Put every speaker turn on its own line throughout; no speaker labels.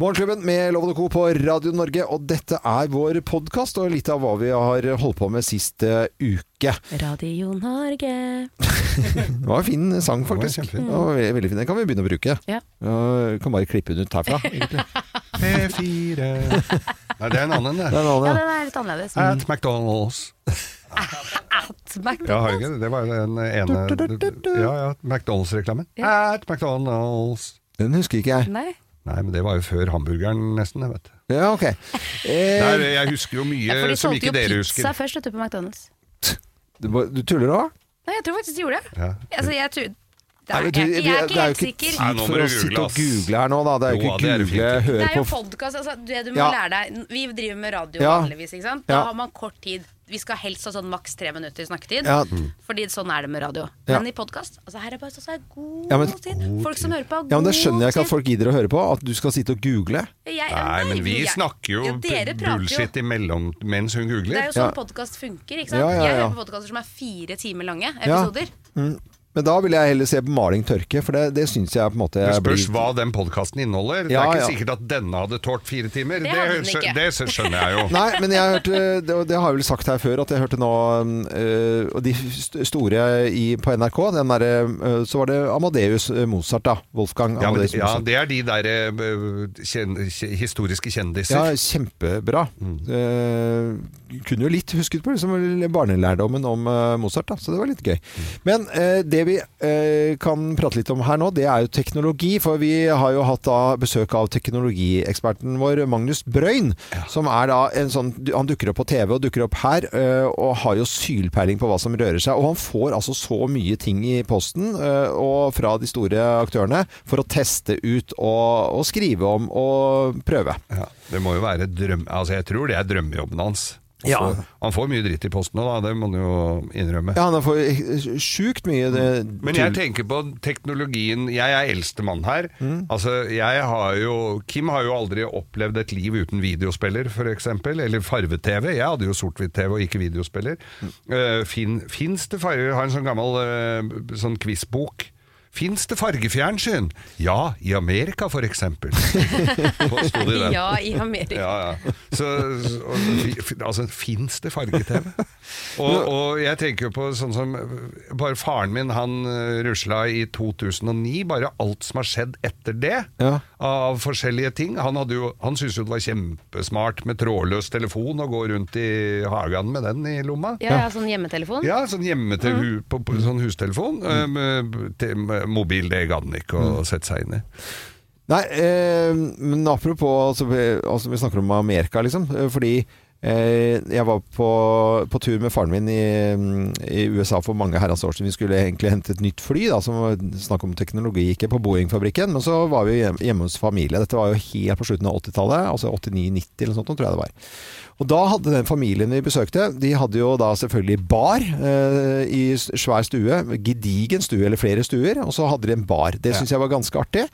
Morgenklubben med Loven og Co. på Radio Norge, og dette er vår podkast og litt av hva vi har holdt på med sist eh, uke.
Radio Norge.
Det var en fin sang, faktisk.
kjempefin.
Det var ve- veldig fin. Den kan vi begynne å bruke.
Ja.
Eh, kan bare klippe den ut herfra. egentlig.
P4 Nei, det er en annen,
Det
det.
er en
Ja,
annen,
den er litt annerledes.
At McDonald's.
At Mac-
Ja, har jeg ikke det? Det var den ene Ja, ja, McDonald's-reklamen. At McDonald's.
Den husker ikke jeg.
Nei.
Nei, men det var jo før hamburgeren, nesten. Jeg, vet.
Ja, ok.
Nei,
Eh,
jeg husker jo mye
Ja, for de
som
solgte
ikke
jo
dere
pizza
husker.
først vet du, på McDonald's.
du, du tuller nå?
Nei, jeg tror faktisk de gjorde det.
Ja.
Altså, jeg tror det
Nei,
er,
men du,
jeg, jeg er
det
ikke
er jo
helt sikker.
Nei,
tid
nå må
for
du
å sitte
google,
og
ass.
google her nå, da. Det er jo
Jo,
ikke
det er det
google,
fint.
Det
høre
er jo
på
podkast. Altså, det du må
Ja.
lære deg Vi driver med radio
Ja.
vanligvis, ikke sant? Da
Ja.
har man kort tid. Vi skal helst ha sånn maks tre minutter snakketid.
Ja.
Fordi sånn er det med radio.
Ja.
Men i podkast altså, Her er bare sånn så er god
Ja, men-
tid. Folk som hører på, har god
Ja, men Det skjønner jeg ikke at
tid.
folk gidder å høre på. At du skal sitte og google.
Jeg-
Nei, men vi
jeg-
snakker jo
Ja, dere prater
bullshit imellom mens hun
Det er jo
googler.
sånn
Ja.
podkast funker. Ikke sant?
Ja, ja,
Jeg
ja.
hører på podkaster som er fire timer lange episoder.
Men da vil jeg heller se på maling tørke, for det, det syns jeg på en måte
Det
jeg
spørs
blir-
hva den podkasten inneholder. Det
Ja,
er ikke
ja.
sikkert at denne hadde tålt fire timer.
Det
Det,
hadde den
skjø-
ikke.
det skjø- skjønner jeg jo.
Nei, men jeg hørte, det, det har jeg vel sagt her før, at jeg hørte nå øh, Og de st- store i, på NRK, den derre øh, Så var det Amadeus øh, Mozart, da. Wolfgang
Ja, men,
Amadeus
ja,
Mozart.
det er de der eh, kjen, kje- historiske
Ja,
kjendiser.
kjempebra. Eh, kunne jo litt husket på liksom, barnelærdommen om eh, Mozart, da, så det var litt gøy. Men eh, det vi eh, kan prate litt om her nå, det er jo teknologi. For vi har jo hatt da besøk av teknologieksperten vår, Magnus Brøyn. Som er da en sånn Han dukker opp på TV og dukker opp her, eh, og har jo sylpeiling på hva som rører seg. Og han får altså så mye ting i posten eh, og fra de store aktørene for å teste ut og, og skrive om og prøve.
Ja, det må jo være drøm... Altså, jeg tror det er drømmejobben hans. Han
Ja.
får- Han får mye dritt i posten nå, da. Det må han jo innrømme.
Ja, han har fått sjukt mye det,
Men jeg tenker på teknologien Jeg er eldste mann her.
Mm.
Altså, jeg har jo Kim har jo aldri opplevd et liv uten videospiller, f.eks. Eller farve-TV. Jeg hadde jo sort-hvitt-TV og ikke videospiller.
Mm.
Eh, fin, Fins det farger? Jeg Har en sånn gammel eh, sånn quizbok. Fins det fargefjernsyn? Ja, i Amerika f.eks. Sto det i den.
Ja, i Amerika.
Ja, ja. Så, og, fi- altså, fins det farge-TV? Og, og jeg tenker jo på sånn som Bare faren min, han eh, rusla i 2009. Bare alt som har skjedd etter det,
Ja.
av forskjellige ting. Han, hadde jo, han syntes jo det var kjempesmart med trådløs telefon og gå rundt i hagen med den i lomma.
Ja, ja, sånn hjemmetelefon.
Ja, sånn hjemme til hu, på, på sånn hustelefon. eh, med- til- med Mobil, det gadd han ikke å sette seg inn i.
Nei, eh, men apropos altså, vi- altså, Vi snakker om Amerika, liksom. eh, Fordi eh, jeg var på, på tur med faren min i, mm, i USA for mange herrens år siden. Vi skulle egentlig hente et nytt fly, da, som var snakk om teknologi, ikke på Boeing-fabrikken. Men så var vi hjem- hjemme hos familie. Dette var jo helt på slutten av 80-tallet. Altså 89-90 eller noe sånt, tror jeg det var. Og da hadde den familien vi besøkte, de hadde jo da selvfølgelig bar eh, i s- svær stue. Gedigen stue, eller flere stuer. Og så hadde de en bar. Det syns jeg var ganske artig.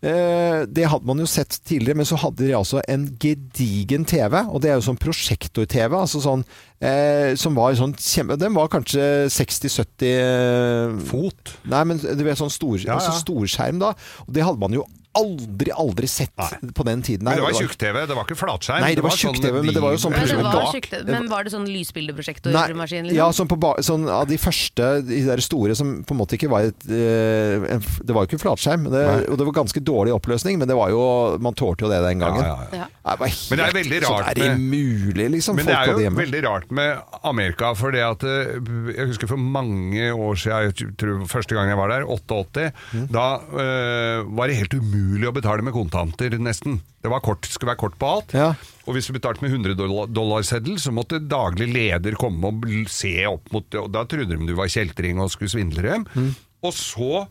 Eh, det hadde man jo sett tidligere, men så hadde de altså en gedigen TV, og det er jo sånn prosjektor-TV, altså sånn eh, som var sånn kjempe... Den var kanskje 60-70 eh,
Fot.
Nei, men du vet sånn stor,
Ja, ja.
altså storskjerm da, og det hadde man jo aldri, aldri sett
Nei.
på den tiden.
Men det
og
var tjukk-TV, det var ikke flatskjerm.
Nei, det var
sånn
tjukk-TV, men det var jo sånn
Men, det
diger-
Prosjektor-
var,
bak-
skikkelig- men var det sånn lysbildeprosjektormaskin?
Nei, ja, sånn, på ba sånn av de første, de der store som på en måte ikke var et eh, en f- Det var jo ikke flatskjerm, men det,
Nei.
og det var ganske dårlig oppløsning, men det var jo Man tålte jo det den gangen.
Ja, ja,
Ja.
ja.
Nei, det var helt,
Men det er veldig rart
Sånn er det mulig, liksom.
Men
folk
det er
hadde
jo
hjemme.
veldig rart med Amerika, for det at eh, Jeg husker for mange år siden, jeg tror første gang jeg var der, 88,
Mm.
da eh, var det helt umulig å betale med kontanter, nesten. Det var kort, skulle være kort på alt.
Ja.
Og hvis du betalte med 100 dollar- dollarseddel, så måtte daglig leder komme og bl- se opp mot det, og da trodde de du var kjeltring og skulle svindle dem.
Mm.
Og så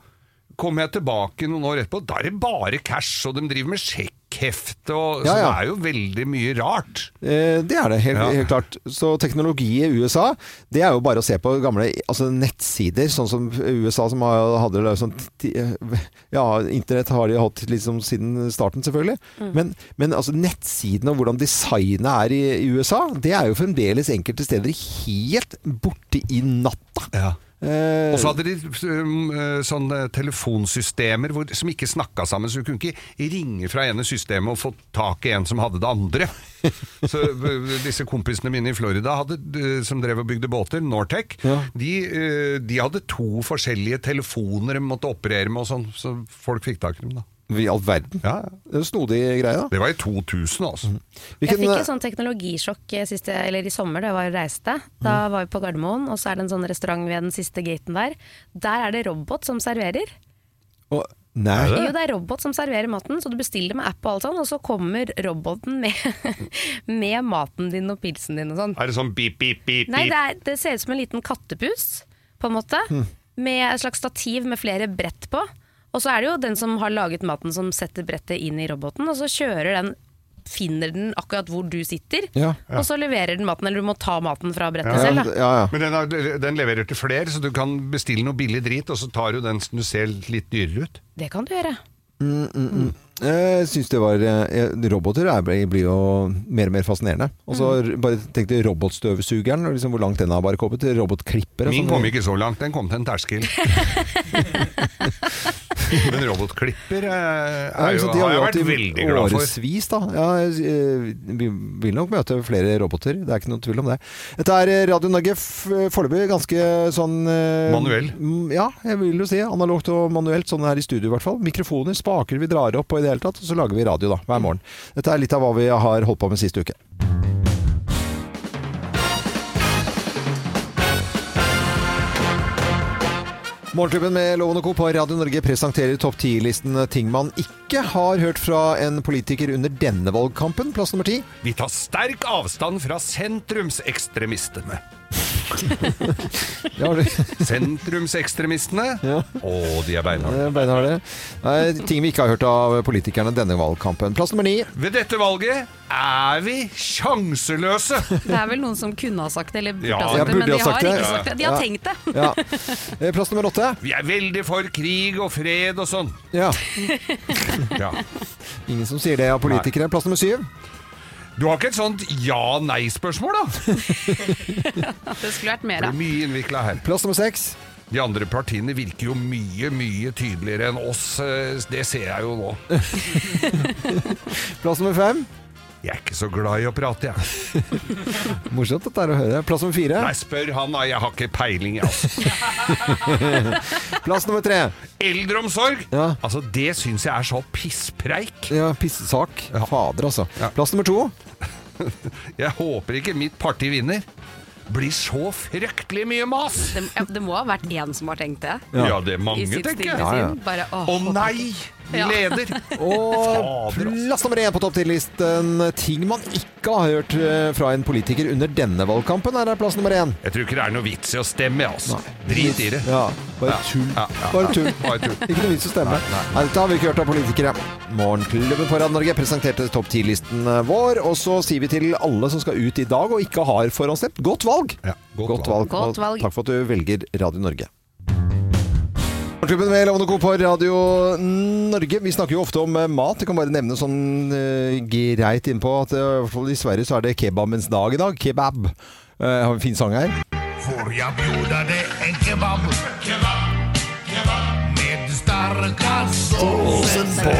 kom jeg tilbake noen år etterpå, da er det bare cash, og de driver med sjekkhefte, og,
Ja,
så det
ja.
er jo veldig mye rart.
Eh, Det er det, helt,
Ja.
helt klart. Så teknologi i USA, det er jo bare å se på gamle altså nettsider, sånn som USA som har- hadde det sånn ti- Ja, internett har de hatt liksom siden starten, selvfølgelig.
Mm.
Men, men altså nettsidene og hvordan designet er i, i USA, det er jo fremdeles enkelte steder helt borte i natta.
Ja.
Eh,
Og så hadde de um, eh, sånne telefonsystemer hvor, som ikke snakka sammen, så du kunne ikke ringe fra ene systemet og få tak i en som hadde det andre. Så eh, disse kompisene mine i Florida hadde, eh, som drev og bygde båter, Nortec,
Ja.
de, eh, de hadde to forskjellige telefoner de måtte operere med og sånn, så folk fikk tak i dem da.
I all verden.
Ja, ja.
Det er en Snodig greie, da.
det var i 2000 altså.
Jeg
Hvilken-
fikk et sånn teknologisjokk eh, siste, eller i sommer da jeg var og reiste. Da
Mm.
var vi på Gardermoen, og så er det en sånn restaurant ved den siste gaten der. Der er det robot som serverer.
Å, nei.
Er det?
Jo, det er robot som serverer maten, så du bestiller med app og alt sånn, og så kommer roboten med, med maten din og pilsen din og sånn.
Er det sånn bip, bip, bip,
Nei,
bip?
det, er, det ser ut som en liten kattepus, på en måte.
Hmm.
Med et slags stativ med flere brett på. Og så er det jo den som har laget maten som setter brettet inn i roboten, og så kjører den Finner den akkurat hvor du sitter,
Ja.
og så leverer den maten. Eller du må ta maten fra brettet
Ja,
selv. Da.
ja, ja.
Men den, har, den leverer til flere, så du kan bestille noe billig drit, og så tar du den som du ser litt dyrere ut.
Det kan du gjøre.
Jeg syns det var eh, Roboter er, blir jo mer og mer fascinerende. Og så
Mm.
r- bare tenk deg robotstøvsugeren, og liksom hvor langt den har bare kommet. til Robotklipper og
Min
sånn.
kom ikke så langt, den kom til en terskel. Men robotklipper eh,
Ja, ikke
er jo,
sant, de
har jeg
jo
vært
alltid
veldig glad for.
Årevis, da. Ja, eh, vi vil nok møte flere roboter, det er ikke noe tvil om det. Dette er eh, Radio Norge f- eh, foreløpig ganske sånn eh,
Manuell.
m- Ja, jeg vil jo si analogt og manuelt, sånn her i studio i hvert fall. Mikrofoner, spaker vi drar opp og i det hele tatt, og så lager vi radio da, hver morgen. Dette er litt av hva vi har holdt på med sist uke. Morgenklubben med Loven og Co. på Radio Norge presenterer topp 10-listen ting man ikke har hørt fra en politiker under denne valgkampen. Plass nummer ti.
Vi tar sterk avstand fra sentrumsekstremistene.
Ja, har du-
Sentrumsekstremistene, og de er beinharde.
Eh, Beinharde. Nei, ting vi ikke har hørt av politikerne denne valgkampen. Plass nummer ni.
Ved dette valget er vi sjanseløse!
Det er vel noen som kunne ha sagt det, eller burde
Ja,
ha sagt
jeg
det, men
burde ha
de har
sagt det.
ikke sagt det. De har
Ja.
tenkt det.
Ja. Eh, Plass nummer åtte.
Vi er veldig for krig og fred og sånn.
Ja.
Ja.
Ingen som sier det av politikere. Plass nummer syv.
Du har ikke et sånt ja-nei-spørsmål, da?
Det skulle vært
Det
mer
blir
av.
mye innvikla her.
Plass nummer seks.
De andre partiene virker jo mye, mye tydeligere enn oss. eh, Det ser jeg jo nå.
Plass nummer fem.
Jeg er ikke så glad i å prate, jeg.
Morsomt dette er å høre. Plass nummer
Nei,
fire.
spør han, da. Jeg har ikke peiling, jeg, altså.
Plass nummer tre.
Eldreomsorg!
Ja.
Altså, det syns jeg er så pisspreik.
Ja, pissesak. Fader, altså.
Ja.
Plass nummer to.
Jeg håper ikke mitt parti vinner. Blir så fryktelig mye mas!
Det, det må ha vært én som har tenkt det.
Ja.
Ja, det er
I
mange,
sitt stille
tenker jeg.
Ja, ja.
sinn. Bare,
Å
åh,
nei! Vi
Ja.
leder!
Og
Fader, altså.
plass nummer én på topp 10-listen. Ting man ikke har hørt eh, fra en politiker under denne valgkampen, er plass nummer én.
Jeg tror ikke det er noe vits i å stemme, jeg, altså.
Nei.
Drit i det.
Ja, bare
Ja,
tull.
ja, ja,
Bare
ja.
tull.
Bare tull.
Ikke noe vits å stemme. Nei, dette har vi ikke hørt av politikere. Morgenklubben på Radio Norge presenterte topp 10-listen vår, og så sier vi til alle som skal ut i dag og ikke har forhåndsstemt, godt valg!
Ja, godt
Godt
valg.
valg.
Godt
og
valg.
Takk for at du velger Radio Norge. Morgenklubben med Lovende Co. på Radio Norge. Vi snakker jo ofte om eh, mat. Jeg kan bare nevne sånn eh, greit innpå at eh, i hvert fall i Sverige så er det kebabens dag i dag. Kebab. Eh, har vi en fin sang her.
Får jag bjuda dig en kebab? Kebab, kebab Med starka såsen på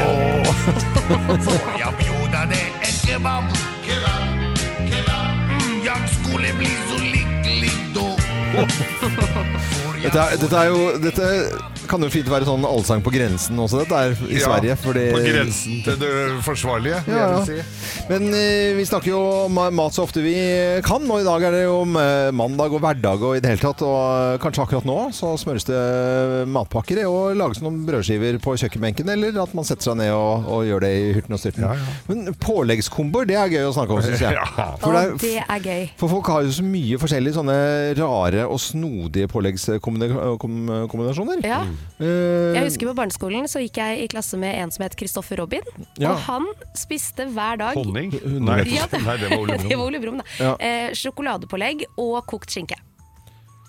Får jag bjuda dig en kebab? Kebab, kebab mm, Jag skulle bli så lycklig då Får jag
Dette, er, dette er jo Dette kan jo fint være sånn allsang på grensen også, dette er i Sverige. Fordi,
På grensen til det forsvarlige, vil
Ja,
jeg
ja.
vil si.
Men eh, vi snakker jo om eh, mat så ofte vi kan, og i dag er det jo om eh, mandag og hverdag og i det hele tatt. Og eh, kanskje akkurat nå så smøres det eh, matpakker i og lages noen brødskiver på kjøkkenbenken, eller at man setter seg ned og, og gjør det i hurten og styrten.
Ja, ja.
Men påleggskomboer, det er gøy å snakke om, syns jeg.
Ja.
For det er-
Å, det er gøy.
for folk har jo så mye forskjellige sånne rare og snodige påleggskombinasjoner.
Ja.
Eh,
Jeg husker på barneskolen så gikk jeg i klasse med en som het Kristoffer Robin.
Ja.
Og han spiste hver dag
Honning?
Nei.
Ja, det-
Nei, det var
Det var
olje.
Ole Brumm, da.
Ja.
Eh, sjokoladepålegg og kokt skinke.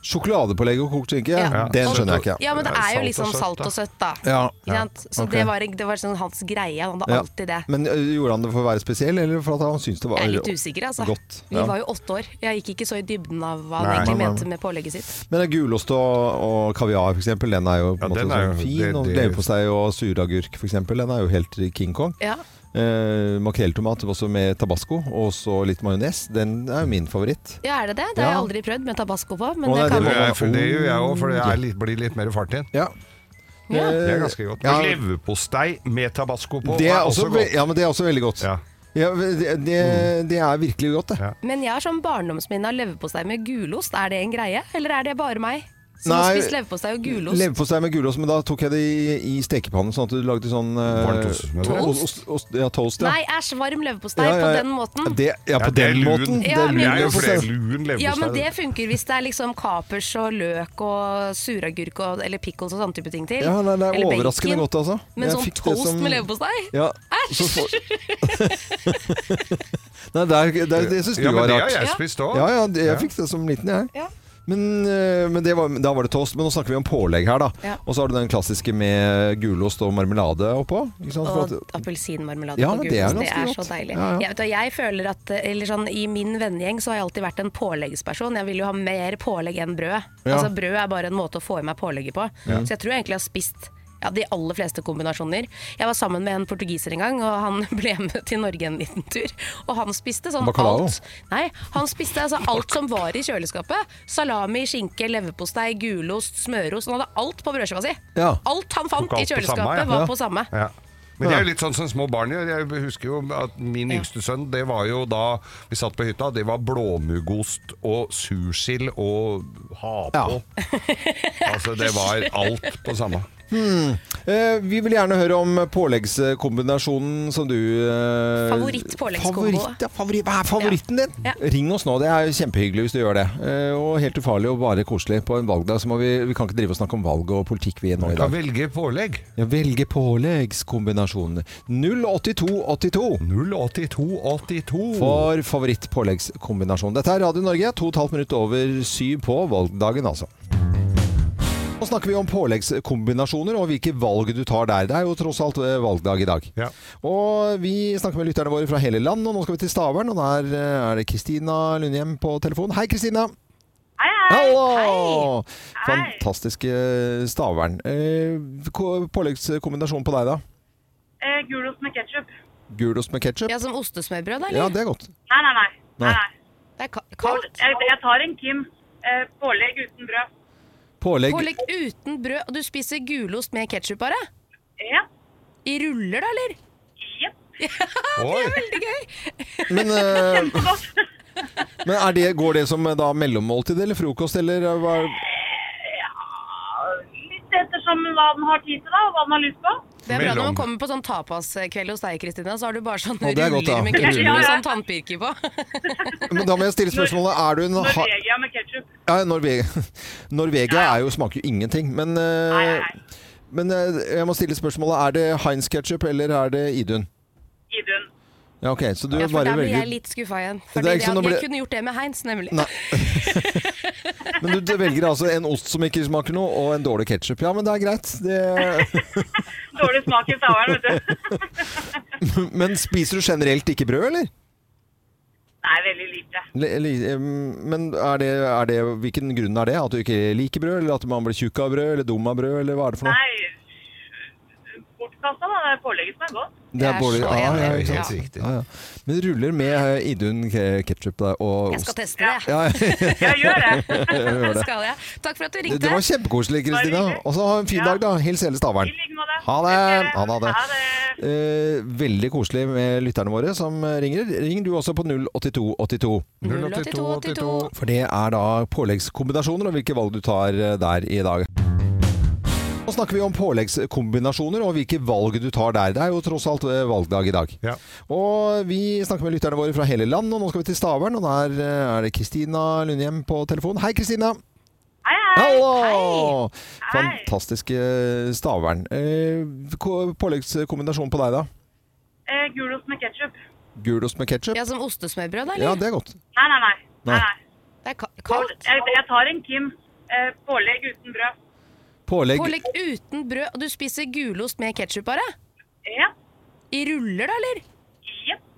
Sjokoladepålegg og kokt skinke,
Ja.
den skjønner jeg ikke.
Ja, men det
Ja,
er jo
salt og
liksom
søtt,
salt
da.
og søtt, da.
Ja.
Ikke sant? Så
Ok.
det var, det var sånn hans greie. Han hadde
Ja.
alltid det.
Men ø, gjorde han det for å være spesiell, eller for at han syntes det var
Jeg er litt usikker, altså.
godt?
Vi
Ja.
var jo åtte år. Jeg gikk ikke så i dybden av hva han
Nei.
egentlig
Nei, nei,
mente med pålegget sitt.
Men det er gulost og, og kaviar, f.eks., den er jo på en
Ja,
måte
den er jo-
sånn fin.
det-
Og
det-
leverpostei og suragurk, f.eks., den er jo helt King Kong.
Ja.
Eh, Makrelltomat også med tabasco, og så litt majones. Den er jo min favoritt.
ja, er det det? Det har
Ja.
jeg aldri prøvd med tabasco på. Men
Å, nei,
det
det
kan
Det
man
var-
er- for det gjør jeg òg, for det er litt, blir litt mer fart i den.
Ja.
Ja.
Eh,
Det er ganske godt.
Ja,
Men Leverpostei med tabasco på
det er også, ve-
godt.
ja, men det er også veldig godt.
Ja. Mm.
Ja, det, det, det er virkelig godt, det.
Ja.
Men jeg har sånn barndomsminne av leverpostei med gulost. Er det en greie, eller er det bare meg? Som
Nei,
har spist leverpostei og gulost.
Leverpostei med gulost, men da tok jeg det i, i stekepannen, sånn at du lagde sånn eh,
Varmt ostesmør.
Toast?
Ost, ost, ja, toast, ja.
Nei, æsj, varm leverpostei
Ja, ja,
på
ja.
den måten.
Det, ja, på
Ja, det er
den
lun.
måten.
Ja,
det er
men-
lun
Jeg er jo for det
leverpostei.
er lun leverpostei.
Ja, men det funker hvis det er liksom kapers og løk og suragurk og, eller pickles og sånne type ting til.
Ja, nei, det er
Eller
overraskende
bacon.
godt, altså.
Men
Jeg
sånn
fikk det
toast
som-
med leverpostei?
Ja. så får- Nei, det, er, det, er, det syns du
Ja, men
var
det har
rart.
jeg
Ja.
spist òg.
Ja, ja, det- jeg fikk det som liten, jeg.
Ja.
Men, eh, men det var, da var det toast. Men nå snakker vi om pålegg her, da.
Ja.
Og så har du den klassiske med gulost og marmelade oppå. Ikke sant? For
Og
at,
appelsinmarmelade
Ja,
på
men det
gulost. Det
er
er,
ganske
så
godt.
deilig.
Ja, ja.
Jeg, vet, hva, jeg føler at, eller sånn, I min vennegjeng så har jeg alltid vært en påleggsperson. Jeg vil jo ha mer pålegg enn brød.
Ja.
Altså Brød er bare en måte å få i meg pålegget på. Så jeg tror jeg egentlig jeg har spist ja, de aller fleste kombinasjoner. Jeg var sammen med en portugiser en gang, og han ble med til Norge en liten tur. Og han spiste sånn
Bacalao?
alt Nei, han spiste altså alt som var i kjøleskapet. Salami, skinke, leverpostei, gulost, smørost. Han hadde alt på brødskiva si.
Ja.
Alt han fant
Tok
i
alt på samme,
kjøleskapet,
ja.
var
Ja.
på samme.
Ja. Men det er jo litt sånn som små barn gjør. Jeg husker jo at min yngste sønn, det var jo da vi satt på hytta, det var blåmuggost og sursild og ha på. Altså det var alt på samme.
eh, vi vil gjerne høre om påleggskombinasjonen som du eh,
Favorittpåleggskombo.
Favoritt, ja, favori- hva er favoritten din?
Ja.
Ring oss nå, det er kjempehyggelig hvis du gjør det. Eh, og helt ufarlig og bare koselig på en valgdag. Så må vi, vi kan ikke drive og snakke om valg og politikk vi er nå i
Du kan
dag.
velge pålegg.
Ja, velge påleggskombinasjonen 08282.
08282.
for favorittpåleggskombinasjon. Dette er Radio Norge, to og et halvt minutt over syv på valgdagen, altså. Nå snakker vi om påleggskombinasjoner og hvilke valg du tar der. Det er jo tross alt eh, valgdag i dag.
Ja.
Og vi snakker med lytterne våre fra hele land, og nå skal vi til Stavern. Og der eh, er det Kristina Lundhjem på telefon. Hei, Kristina!
Hei, hei.
Hallo! Fantastiske Stavern. Eh, ko- Påleggskombinasjon på deg, da?
Eh, gulost med ketsjup.
Gulost med ketsjup?
Ja, som ostesmørbrød, eller?
Ja, det er godt.
Nei, nei, nei.
Nei.
nei. nei.
Det er ka- kaldt.
Jeg, jeg tar en Kim. Eh, pålegg uten brød.
Pålegg
Pålegg uten brød, og du spiser gulost med ketsjup bare?
Ja.
I ruller, da, eller?
Jepp.
Oi.
Men, eh, men er det, går det som eh, da mellommåltid eller frokost, eller eh, hva?
Litt ettersom hva den har tid til, da, og hva den har lyst på.
Det er bra når
Mellom.
man kommer på sånn tapaskveld hos deg, Kristina, så har du bare sånne
Å, det er
ruller
godt, ja.
med ketsjup
Ja,
med
ja.
sånn tannpirker på.
Men da må jeg stille spørsmålet Er du en ha,
Norvegia med ketsjup.
ja, Norvegia, Norvegia er jo, smaker jo ingenting, men, eh,
Nei, nei, nei.
men eh, jeg må stille spørsmålet Er det Heinz ketchup eller er det Idun?
Idun.
Ja, ok, så du
Ja, for
bare
der blir jeg
velger
litt skuffa igjen.
er
Fordi jeg,
ikke sånn, nå
jeg
blir-
kunne gjort det med Heinz, nemlig.
Nei. Men du, du velger altså en ost som ikke smaker noe, og en dårlig ketsjup. Ja, men det er greit. Det,
Dårlig smak i stavern, vet du.
men spiser du generelt ikke brød, eller?
Nei, veldig lite.
Le- li- eh, Men er det, er det, hvilken grunn er det? At du ikke liker brød, eller at man blir tjukk av brød, eller dum av brød, eller hva er det for noe?
Nei, bortkasta, da. Det er pålegget som er godt.
det
jeg er
både-
så
ja, ja,
enig.
Det er
ikke sant?
Helt riktig.
Ja, ja. Men det ruller med eh, Idun ketsjup og
Jeg skal
ost.
teste det.
Ja,
Ja, gjør det.
Det skal jeg. Takk for at du
det, det var
ringte.
kjempekoselig, Kristina. Og så ha en fin
Ja.
dag, da. Hils hele Stavern.
I like måte.
Ha det. Ha det.
Ha det.
Eh, veldig koselig med lytterne våre som eh, ringer. Ring du også på 08282.
08282.
For det er da påleggskombinasjoner og hvilke valg du tar eh, der i dag. Nå snakker vi om påleggskombinasjoner og hvilke valg du tar der. Det er jo tross alt eh, valgdag i dag.
Ja.
Og vi snakker med lytterne våre fra hele land, og nå skal vi til Stavern. Og der eh, er det Kristina Lundhjem på telefon. Hei, Kristina!
Hei, hei.
Hallo!
Hei.
Fantastiske Stavern. Eh, ko- Påleggskombinasjon på deg, da?
Eh, gulost med ketsjup.
Gulost med ketsjup?
Ja, som ostesmørbrød, da,
Ja,
eller?
det er godt.
Nei, nei, nei.
Nei.
nei, nei.
Det er ka- kaldt.
Jeg, jeg tar en Kim. Eh, pålegg uten brød.
Pålegg
Pålegg uten brød, og du spiser gulost med ketsjup bare?
Ja.
I ruller, da, eller?
Jepp.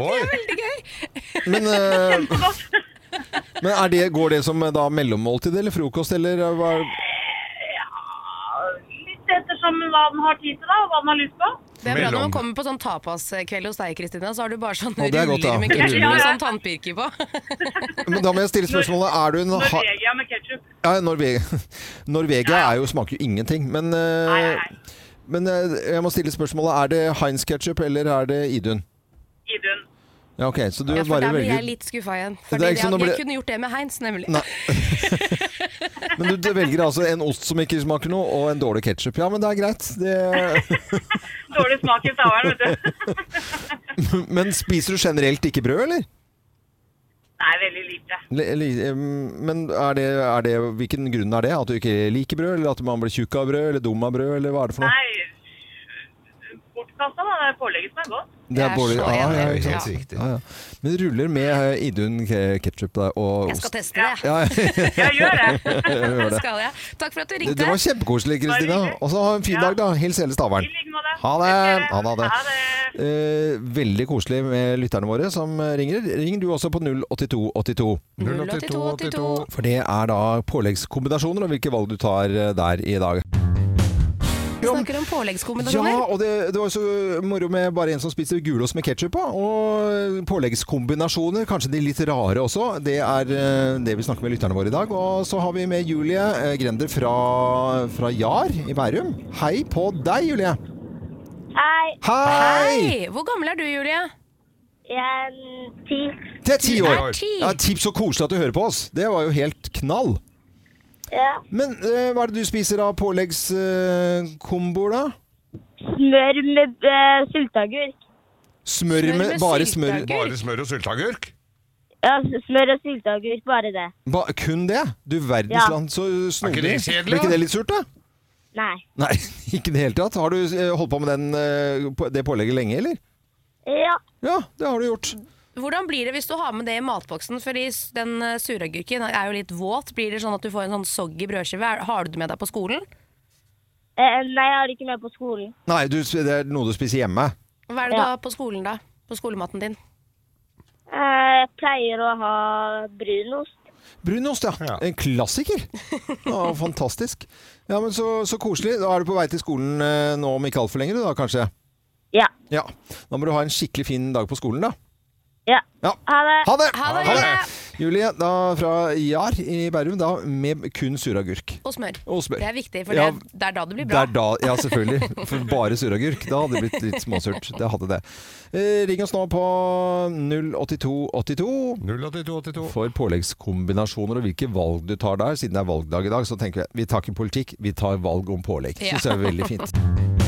Oi,
Veldig gøy.
men, eh,
Kjempegodt.
men er det, går det som eh, da mellommåltid eller frokost, eller eh, hva?
Litt ettersom hva den har tid til, da, og hva den har lyst på.
Det er bra når
Mellom.
man kommer på sånn tapaskveld hos deg, Kristina, så har du bare sånn
Å, det er
ruller
godt, da.
med ketsjup
Ja,
og
ja.
sånn tannpirker på.
Men da må jeg stille spørsmålet Er du en ha...
Norvegia med ketsjup.
Ja, Norvegia, Norvegia er jo, smaker jo ingenting, men, eh,
Nei, nei, nei.
men eh, jeg må stille spørsmålet Er det Heinz ketchup eller er det Idun?
Idun.
Ja, ok, så du
Ja, for
bare
der blir jeg
velger
litt skuffa igjen.
er
Fordi
ikke
jeg,
sånn det
jeg
ble-
kunne gjort det med Heinz, nemlig.
Nei. Men du, du velger altså en ost som ikke smaker noe, og en dårlig ketsjup. Ja, men det er greit. Det...
Dårlig smak i stavern, vet du.
Men spiser du generelt ikke brød, eller?
Nei, veldig lite.
Le- eller, eh, Men er det, er det, hvilken grunn er det? At du ikke liker brød? Eller at man blir tjukk av brød? Eller dum av brød? Eller hva er det for noe?
Nei, bortkasta da, det er pålegget som er godt.
Det
Jeg
er sånn.
er
dårlig. Ah,
så
Ja,
enig.
ja,
det er
ikke sant?
helt riktig.
Ja, ja. Men ruller med eh, Idun ketsjup og
Jeg skal
ost.
teste det.
Ja,
Jeg gjør det.
Skal jeg. Takk for at du
det,
ringte.
det var kjempekoselig,
Bare
Kristina.
hyggelig.
Og så ha en fin
Ja.
dag, da. Hils hele
I
Stavern.
like måte.
Ha det. Ha det, ha det.
Ha det.
Eh, veldig koselig med lytterne våre som eh, ringer. Ring du også på 08282.
08282.
For det er da påleggskombinasjoner og hvilke valg du tar eh, der i dag.
Vi snakker om påleggskombinasjoner.
Ja, og det, det var jo så moro med bare en som spiser gulost med ketsjup på. Og påleggskombinasjoner, kanskje de litt rare også. Det er eh, det vi snakker med lytterne våre i dag. Og så har vi med Julie eh, Grender fra, fra Jar i Bærum. Hei på deg, Julie.
Hei,
Hei!
Hei! Hvor gammel er du, Julie?
jeg er mm, ti.
Det er ti år.
Er ti.
Ja, tips så koselig at du hører på oss. Det var jo helt knall.
Ja.
Men eh, hva er det du spiser av påleggskomboer, da?
Smør med uh, sylteagurk.
Smør
Smør
med,
med
bare smør
sylteagurk.
Bare smør og sylteagurk?
Ja, s- smør og sylteagurk, bare det.
ba, Kun det? Du verdens
Ja.
land, så snodig.
Er ikke det kjedelig,
Blir ikke
da?
det litt surt, da?
Nei.
Nei, ikke i det hele tatt. Har du eh, holdt på med den, eh, på- det pålegget lenge, eller?
Ja.
Ja, det har du gjort.
Hvordan blir det hvis du har med det i matboksen? Fordi s- den eh, suragurken er jo litt våt. Blir det sånn at du får en sånn soggy brødskive? Er- Har du det med deg på skolen?
Eh, nei, jeg har det ikke med på skolen.
Nei, du, det er noe du spiser hjemme.
Hva er det
Ja.
du har på skolen, da? På skolematen din?
Eh, Jeg pleier å ha brunost.
Brunost, ja.
Ja.
En klassiker. Ja, fantastisk. Ja, men så, så koselig. Da er du på vei til skolen eh, nå om ikke altfor lenge, du da, kanskje?
Ja.
Ja. Da må du ha en skikkelig fin dag på skolen, da.
Ja.
Ja.
Ha det.
Ha det!
Ha det!
Julie, da fra Jar i Bærum, da med kun suragurk.
Og smør.
Og smør.
Det er viktig, for
Ja.
det, er, det er da det blir
Det
bra.
er da, ja, selvfølgelig. For bare suragurk. Da hadde det blitt litt småsurt. Det hadde det. Eh, ring oss nå på 08282
08282.
for påleggskombinasjoner og hvilke valg du tar der. Siden det er valgdag i dag, så tenker vi vi tar ikke politikk, vi tar valg om pålegg.
Ja.
Syns jeg er veldig fint.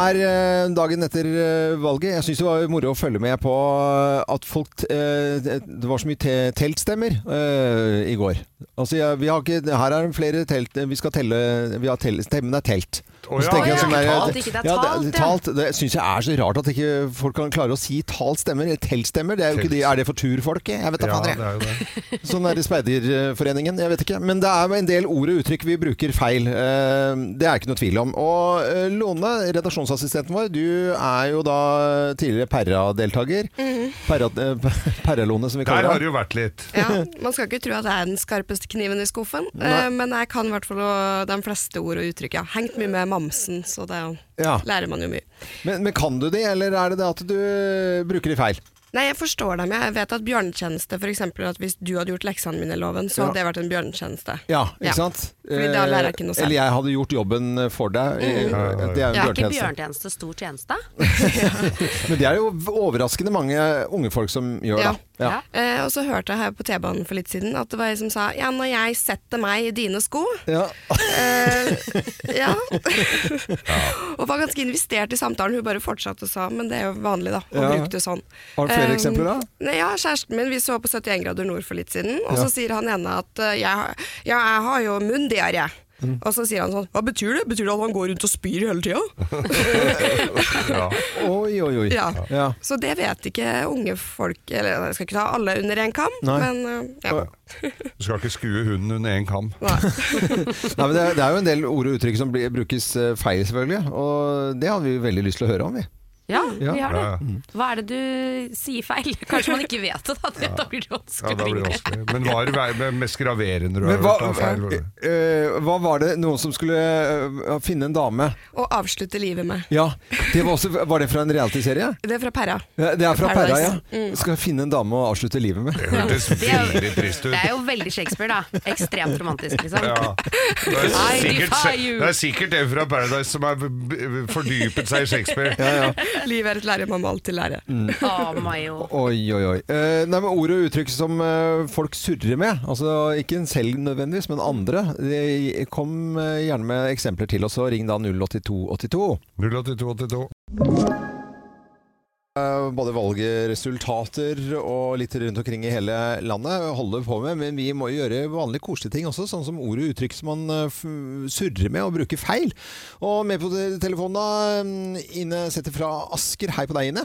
Er eh, dagen etter eh, valget. Jeg syns det var moro å følge med på eh, at folk eh, Det var så mye te teltstemmer eh, i går. Altså, jeg, vi har ikke Her er det flere telt Vi skal telle vi har tell, Stemmen er telt.
Å
Og så
ja,
tenker jeg
ja,
sånn
ikke
der-
talt, ikke det er
Ja,
talt, ja.
talt. Det syns jeg er så rart at ikke folk kan klare å si talt stemmer. eller Telt stemmer. Det er, jo ikke
Telt.
de, er det for turfolket? Jeg vet da
Ja,
fader,
det
jeg.
er jo det.
Sånn er det i Speiderforeningen, jeg vet ikke. Men det er en del ord og uttrykk vi bruker feil. Eh, Det er ikke noe tvil om. Og eh, Lone, redaksjonsassistenten vår, du er jo da tidligere Perra-deltaker.
Mhm.
Perra- eh, per- Perra-Lone, som vi
Der
kaller
har
deg.
det jo vært litt.
Ja, Man skal ikke tro at jeg er den skarpeste kniven i skuffen,
Nei.
eh, men jeg kan i hvert fall eh, de fleste ord og uttrykk. Jeg har hengt mye med mamsen, så det
Ja.
lærer man jo mye.
Men, men kan du det, eller er det det at du bruker de feil?
Nei, jeg forstår dem. Jeg vet at bjørnetjeneste, for eksempel, at hvis du hadde gjort leksene mine, Loven, så hadde det vært en bjørnetjeneste.
Ja, ikke
Ja.
sant?
Fordi da lærer jeg ikke noe
Eh,
selv. Mhm.
Eller jeg hadde gjort jobben for deg. Eh, Det er jo
Ja,
en
Er ikke
bjørnetjeneste.
bjørntjeneste stor tjeneste?
Men det er jo overraskende mange unge folk som gjør
Ja.
det. Ja.
Eh, og så hørte jeg her på T-banen for litt siden at det var ei som sa ja, når jeg setter meg i dine sko.
Ja.
Eh, ja. og var ganske investert i samtalen. Hun bare fortsatte og sa men det er jo vanlig, da. Å
Ja.
bruke det sånn.
Har du flere
Eh,
eksempler, da?
Nei, ja, kjæresten min, vi så på 71 grader nord for litt siden, og
Ja.
så sier han ene at eh, jeg, har- ja, jeg har jo munndiaré.
Mm.
Og så sier han sånn Hva betyr det? Betyr det at han går rundt og spyr hele tida?
Ja.
Oi, oi, oi.
Ja.
Ja.
Så det vet ikke unge folk Eller jeg skal ikke ta alle under én kam,
Nei.
men eh, ja.
Du skal ikke skue hunden under én kam.
Nei.
Nei, men det, er, det er jo en del ord og uttrykk som blir, brukes eh, feil, selvfølgelig. Og det hadde vi veldig lyst til å høre om, vi.
Ja,
Ja.
vi har
Ja, ja.
det. Hva er det du sier feil? Kanskje man ikke vet det, da. Da blir det
Ja, da blir
vanskelig.
det vanskelig. Men hva er det vei- mest graverende du har
Men hva,
hørt? av feil?
eh, hva var det noen som skulle eh, finne en dame
Og avslutte livet med.
Ja, det var, også, var det fra en realityserie?
Det er fra Perra.
Ja, Det er fra Perra, ja.
Paradise.
Skal finne en dame å avslutte livet med.
Det hørtes veldig trist ut.
Det er jo veldig Shakespeare, da. Ekstremt romantisk, liksom.
Ja. Det er
I
sikkert,
defy you.
det er sikkert en fra Paradise som har b- b- fordypet seg i Shakespeare.
Livet er et lære, man må alltid lære.
Å, Mayo.
Oi, oi, oi. Eh, nei, men Ord og uttrykk som eh, folk surrer med, altså ikke en selv nødvendigvis, men andre, det- kom eh, gjerne med eksempler til oss, og ring da 08282.
08282.
Eh, Både valgresultater og litt rundt omkring i hele landet holder på med, men vi må jo gjøre vanlige koselige ting også, sånn som ord og uttrykk som man eh, f surrer med og bruker feil. Og med på te- telefonen da, mm, Ine setter fra Asker. Hei på deg, Ine.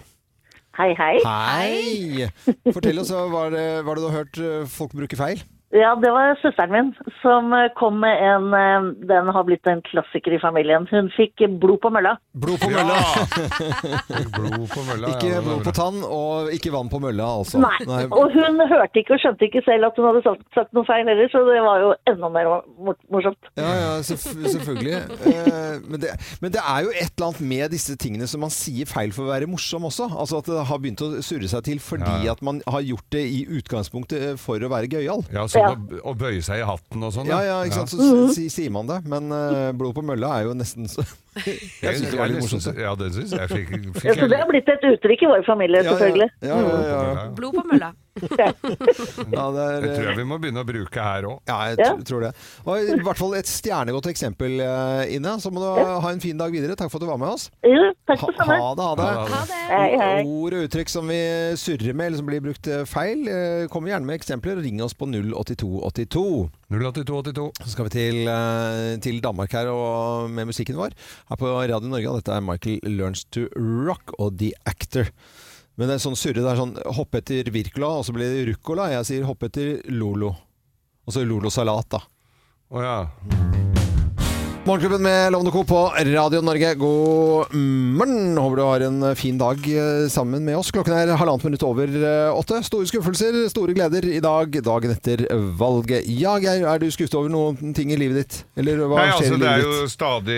Hei, hei.
Hei! Fortell oss, hva er det, hva er det du har hørt eh, folk bruke feil?
Ja, det var søsteren min som eh, kom med en eh, Den har blitt en klassiker i familien. Hun fikk eh, blod på mølla.
Blod på mølla.
Ja! Blod på mølla. ja, det
Ikke
er
blod
bra.
på tann, og ikke vann på mølla, altså.
Nei. Og hun hørte ikke og skjønte ikke selv at hun hadde sagt, sagt noe feil heller, så det var jo enda mer mor- morsomt.
Ja, ja, selvf selvfølgelig. Eh, Men det, men det er jo et eller annet med disse tingene som man sier feil for å være morsom også. Altså At det har begynt å surre seg til fordi at man har gjort det i utgangspunktet eh, for å være gøyal.
Ja, sånn å b- å bøye seg i hatten og sånn.
Ja, ja, ikke sant? Så s- si- sier man det. Men eh, blod på mølla er jo nesten så Jeg syns det var litt morsomt. det.
Ja, det syns jeg. Fikk, fikk
Ja, så det har blitt et uttrykk i vår familie,
Ja, ja,
selvfølgelig.
ja, ja, ja, ja.
Blod på mølla.
ja det er,
Det
eh,
tror jeg vi må begynne å bruke her òg.
ja, jeg
Ja.
tr- tror det. Og I hvert fall et stjernegodt eksempel, eh, Ine. Så må du ha en fin dag videre. Takk for at du var med oss.
Jo, takk
Ha,
det samme.
ha det. Ha det.
Ha det.
Hei, hei.
Ord og uttrykk som vi surrer med, eller som blir brukt eh, feil, eh, kommer gjerne med eksempler. Ring oss på 08282.
08282.
Så skal vi til, eh, til Danmark her og med musikken vår. Her på Radio Norge. og Dette er Michael Learns to Rock og The Actor. Men det er sånn surre. Det er sånn hoppe etter Wirkola, og så blir det Ruccola. Jeg sier hoppe etter Lolo. Og så Lolo Salat, da.
Å ja.
Morgenklubben med Lovende Co. på Radio Norge. God morgen! Håper du har en fin dag eh, sammen med oss. Klokken er halvannet minutt over eh, åtte. Store skuffelser, store gleder i dag, dagen etter valget. Ja, Geir, er du skuffet over noen ting i livet ditt? Eller hva
Nei,
skjer
altså,
i
det, er
livet
jo
ditt?
stadig,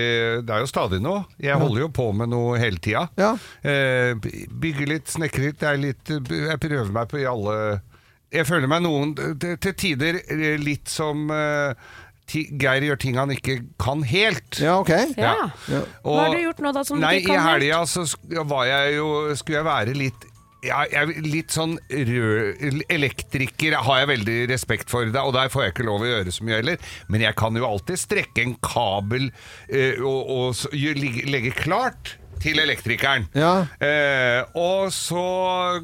det er jo stadig noe. Jeg holder jo på med noe hele tida.
Ja.
Eh, bygger litt, snekrer litt. Det er litt Jeg prøver meg på i alle Jeg føler meg noen til til tider litt som eh, ti- Geir gjør ting han ikke kan helt.
Ja, ok.
Ja.
Ja.
Hva har du gjort nå da som du
nei,
ikke kan
I helga så sk- var jeg jo Skulle jeg være litt ja, jeg, litt sånn rød Elektriker har jeg veldig respekt for, da, og der får jeg ikke lov å gjøre så mye heller. Men jeg kan jo alltid strekke en kabel eh, og, og s- gjø- ligge- legge klart til elektrikeren.
Ja.
Eh, og så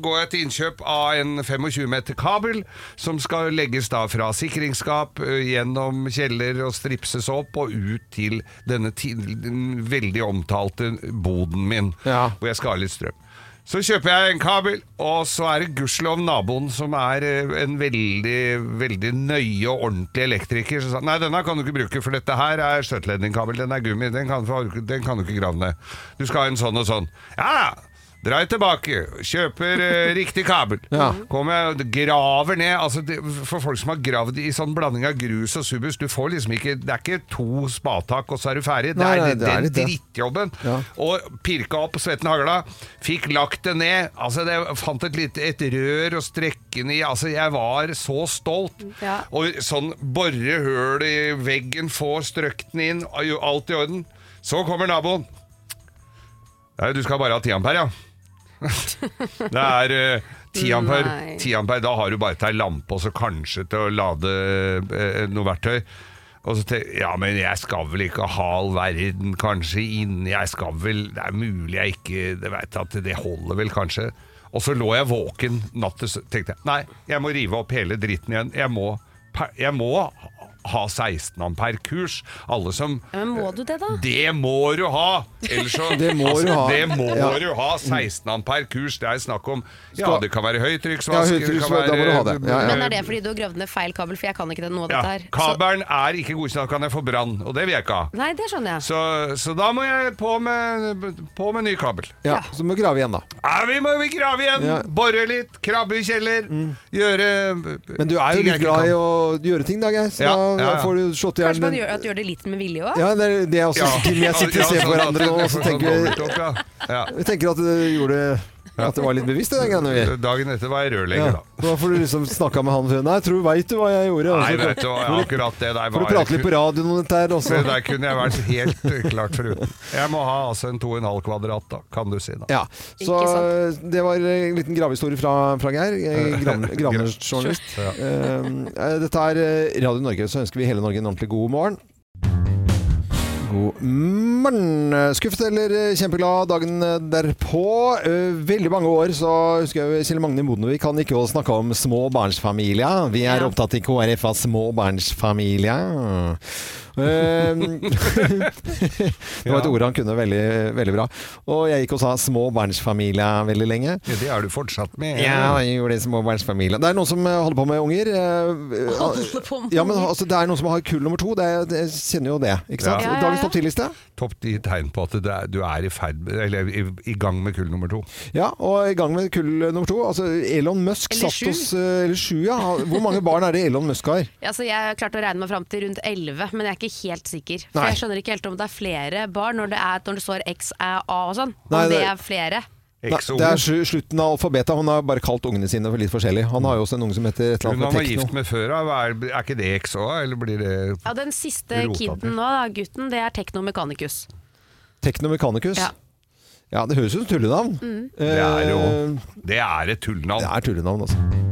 går jeg til innkjøp av en 25 meter kabel, som skal legges da fra sikringsskap, ø, gjennom kjeller og stripses opp og ut til denne ti den veldig omtalte boden min,
Ja.
hvor jeg skal ha litt strøm. Så kjøper jeg en kabel, og så er det gudskjelov naboen, som er ø, en veldig veldig nøye og ordentlig elektriker, som sa nei, denne kan du ikke bruke, for dette her er støtledningkabel, den er gummi, den kan, den kan du ikke grave ned. Du skal ha en sånn og sånn. Ja! Drar jeg tilbake, kjøper eh, riktig kabel.
Ja.
Kommer jeg og graver ned altså det, For folk som har gravd i sånn blanding av grus og subus Du får liksom ikke Det er ikke to spatak, og så er du ferdig.
Nei, nei,
det er
det er
den
litt det.
drittjobben.
Ja.
Og pirka opp svetten hagla. Fikk lagt det ned. Altså, det fant et lite et rør å strekke den i. Altså, jeg var så stolt.
Ja.
Og sånn borre høl i veggen, får strøkt den inn, og jo- alt i orden. Så kommer naboen. Nei, du skal bare ha 10 ampere, ja. Det er eh, 10 ampere.
Nei.
10 ampere, da har du bare til ei lampe og så kanskje til å lade eh, noe verktøy. Og så tenker jeg, ja, men jeg skal vel ikke ha all verden kanskje inn, jeg skal vel, det er mulig jeg ikke, det vet jeg at det holder vel kanskje. Og så lå jeg våken natt til sø- tenkte jeg, nei, jeg må rive opp hele dritten igjen, jeg må, per- jeg må ha 16 ampere kurs. Alle som
Ja, men må du det, da?
Det må du ha! Ellers så Altså,
Det må du ha.
Det må
Ja.
du ha. 16 ampere kurs, det er snakk om Ja,
Skal-
det kan være høytrykksvask,
Ja,
det kan
høytrykksvask, da må du ha
være
det. Ja, ja.
Men er det fordi du har gravd ned feil kabel, for jeg kan ikke det nå, dette
Ja,
her. Så-
kabelen er ikke godkjent, da kan jeg få brann, og det vil jeg ikke ha.
Nei, det skjønner jeg.
Så, så da må jeg på med, på med ny kabel.
Ja, så må vi grave igjen, da.
Ja, vi må vi grave igjen!
Ja. Mm.
Bore litt, krabbe i kjeller, gjøre
Men du er jo litt glad i å gjøre ting, da, Geir. Så
Ja,
da-
ja,
da
ja.
får du slått i hjel.
Kanskje man
men-
gjør, at gjør det litt med vilje òg?
Ja, det er det er også Kim og jeg sitter og ser
sånn
på hverandre nå, og så tenker vi
ja. Ja.
Vi tenker at du gjorde At det var litt bevisst, det der greiene vi gjør.
Dagen etter var jeg
Ja.
rørlegger, da.
Da får du liksom snakka med han fyren der. Tror du veit du hva jeg gjorde?
Nei,
Og så
vet du,
får du-
akkurat det der
Får du prate litt på radioen om dette her også?
Det der kunne jeg vært helt eh, klart foruten. Jeg må ha altså en 2,5 kvadrat, da, kan du si. da.
Ja, så eh, det var en liten gravehistorie fra, fra Geir. eh, gran- Gravnersjournalist. Eh, dette er eh, Radio Norge, så ønsker vi hele Norge en ordentlig god morgen. God morgen! Skuffet eller eh, kjempeglad dagen derpå. Eh, Veldig mange år så husker jeg Kjell Magne Modnevik han gikk jo og snakka om småbarnsfamilier. Vi er
Ja.
opptatt i KrF av småbarnsfamilier. Eh, Det var et ord han kunne veldig, veldig bra. Og jeg gikk og sa 'småbarnsfamilie' veldig lenge.
Ja, Det er du fortsatt med. eh,
Ja, jeg gjorde det småbarnsfamilie. Det er noen som eh, holder på med unger. eh,
Holder på med
Ja, men altså, det er noen som har kull nummer to. Det, er- jeg kjenner jo det. Ikke sant?
Ja. Ja, ja,
Dagens
ja.
topp 10-liste.
Topp ti tegn på at det er, du er i, ferd, med- eller, i, i gang med kull nummer to.
Ja, og i gang med kull nummer to. Altså, Elon Musk
Eller
satt
sju.
hos eh, Eller sju, ja. Hvor mange barn er det Elon Musk har?
Altså, jeg klarte å regne meg fram til rundt 11, men jeg er ikke helt sikker. For
Nei.
Jeg skjønner ikke helt om det er flere barn når det, er, når det står X, Æ, A og sånn. Om
Nei, det-
det... er flere.
Nei,
Exo.
det er sånn slu- slutten av alfabetet. Han har bare kalt ungene sine for litt forskjellig. Han har jo også en unge som heter et eller annet
Hun han var
med tekno.
gift med før, da. er, er ikke det XO, eller blir det
Ja, Den siste
Rota til.
kiden nå, da, gutten, det er Teknomechanicus.
Teknomechanicus. Ja.
Ja. Mm.
det høres ut som tullenavn.
Det er jo
Eh,
Det er et
Det
tullnavn.
er tullenavn, altså.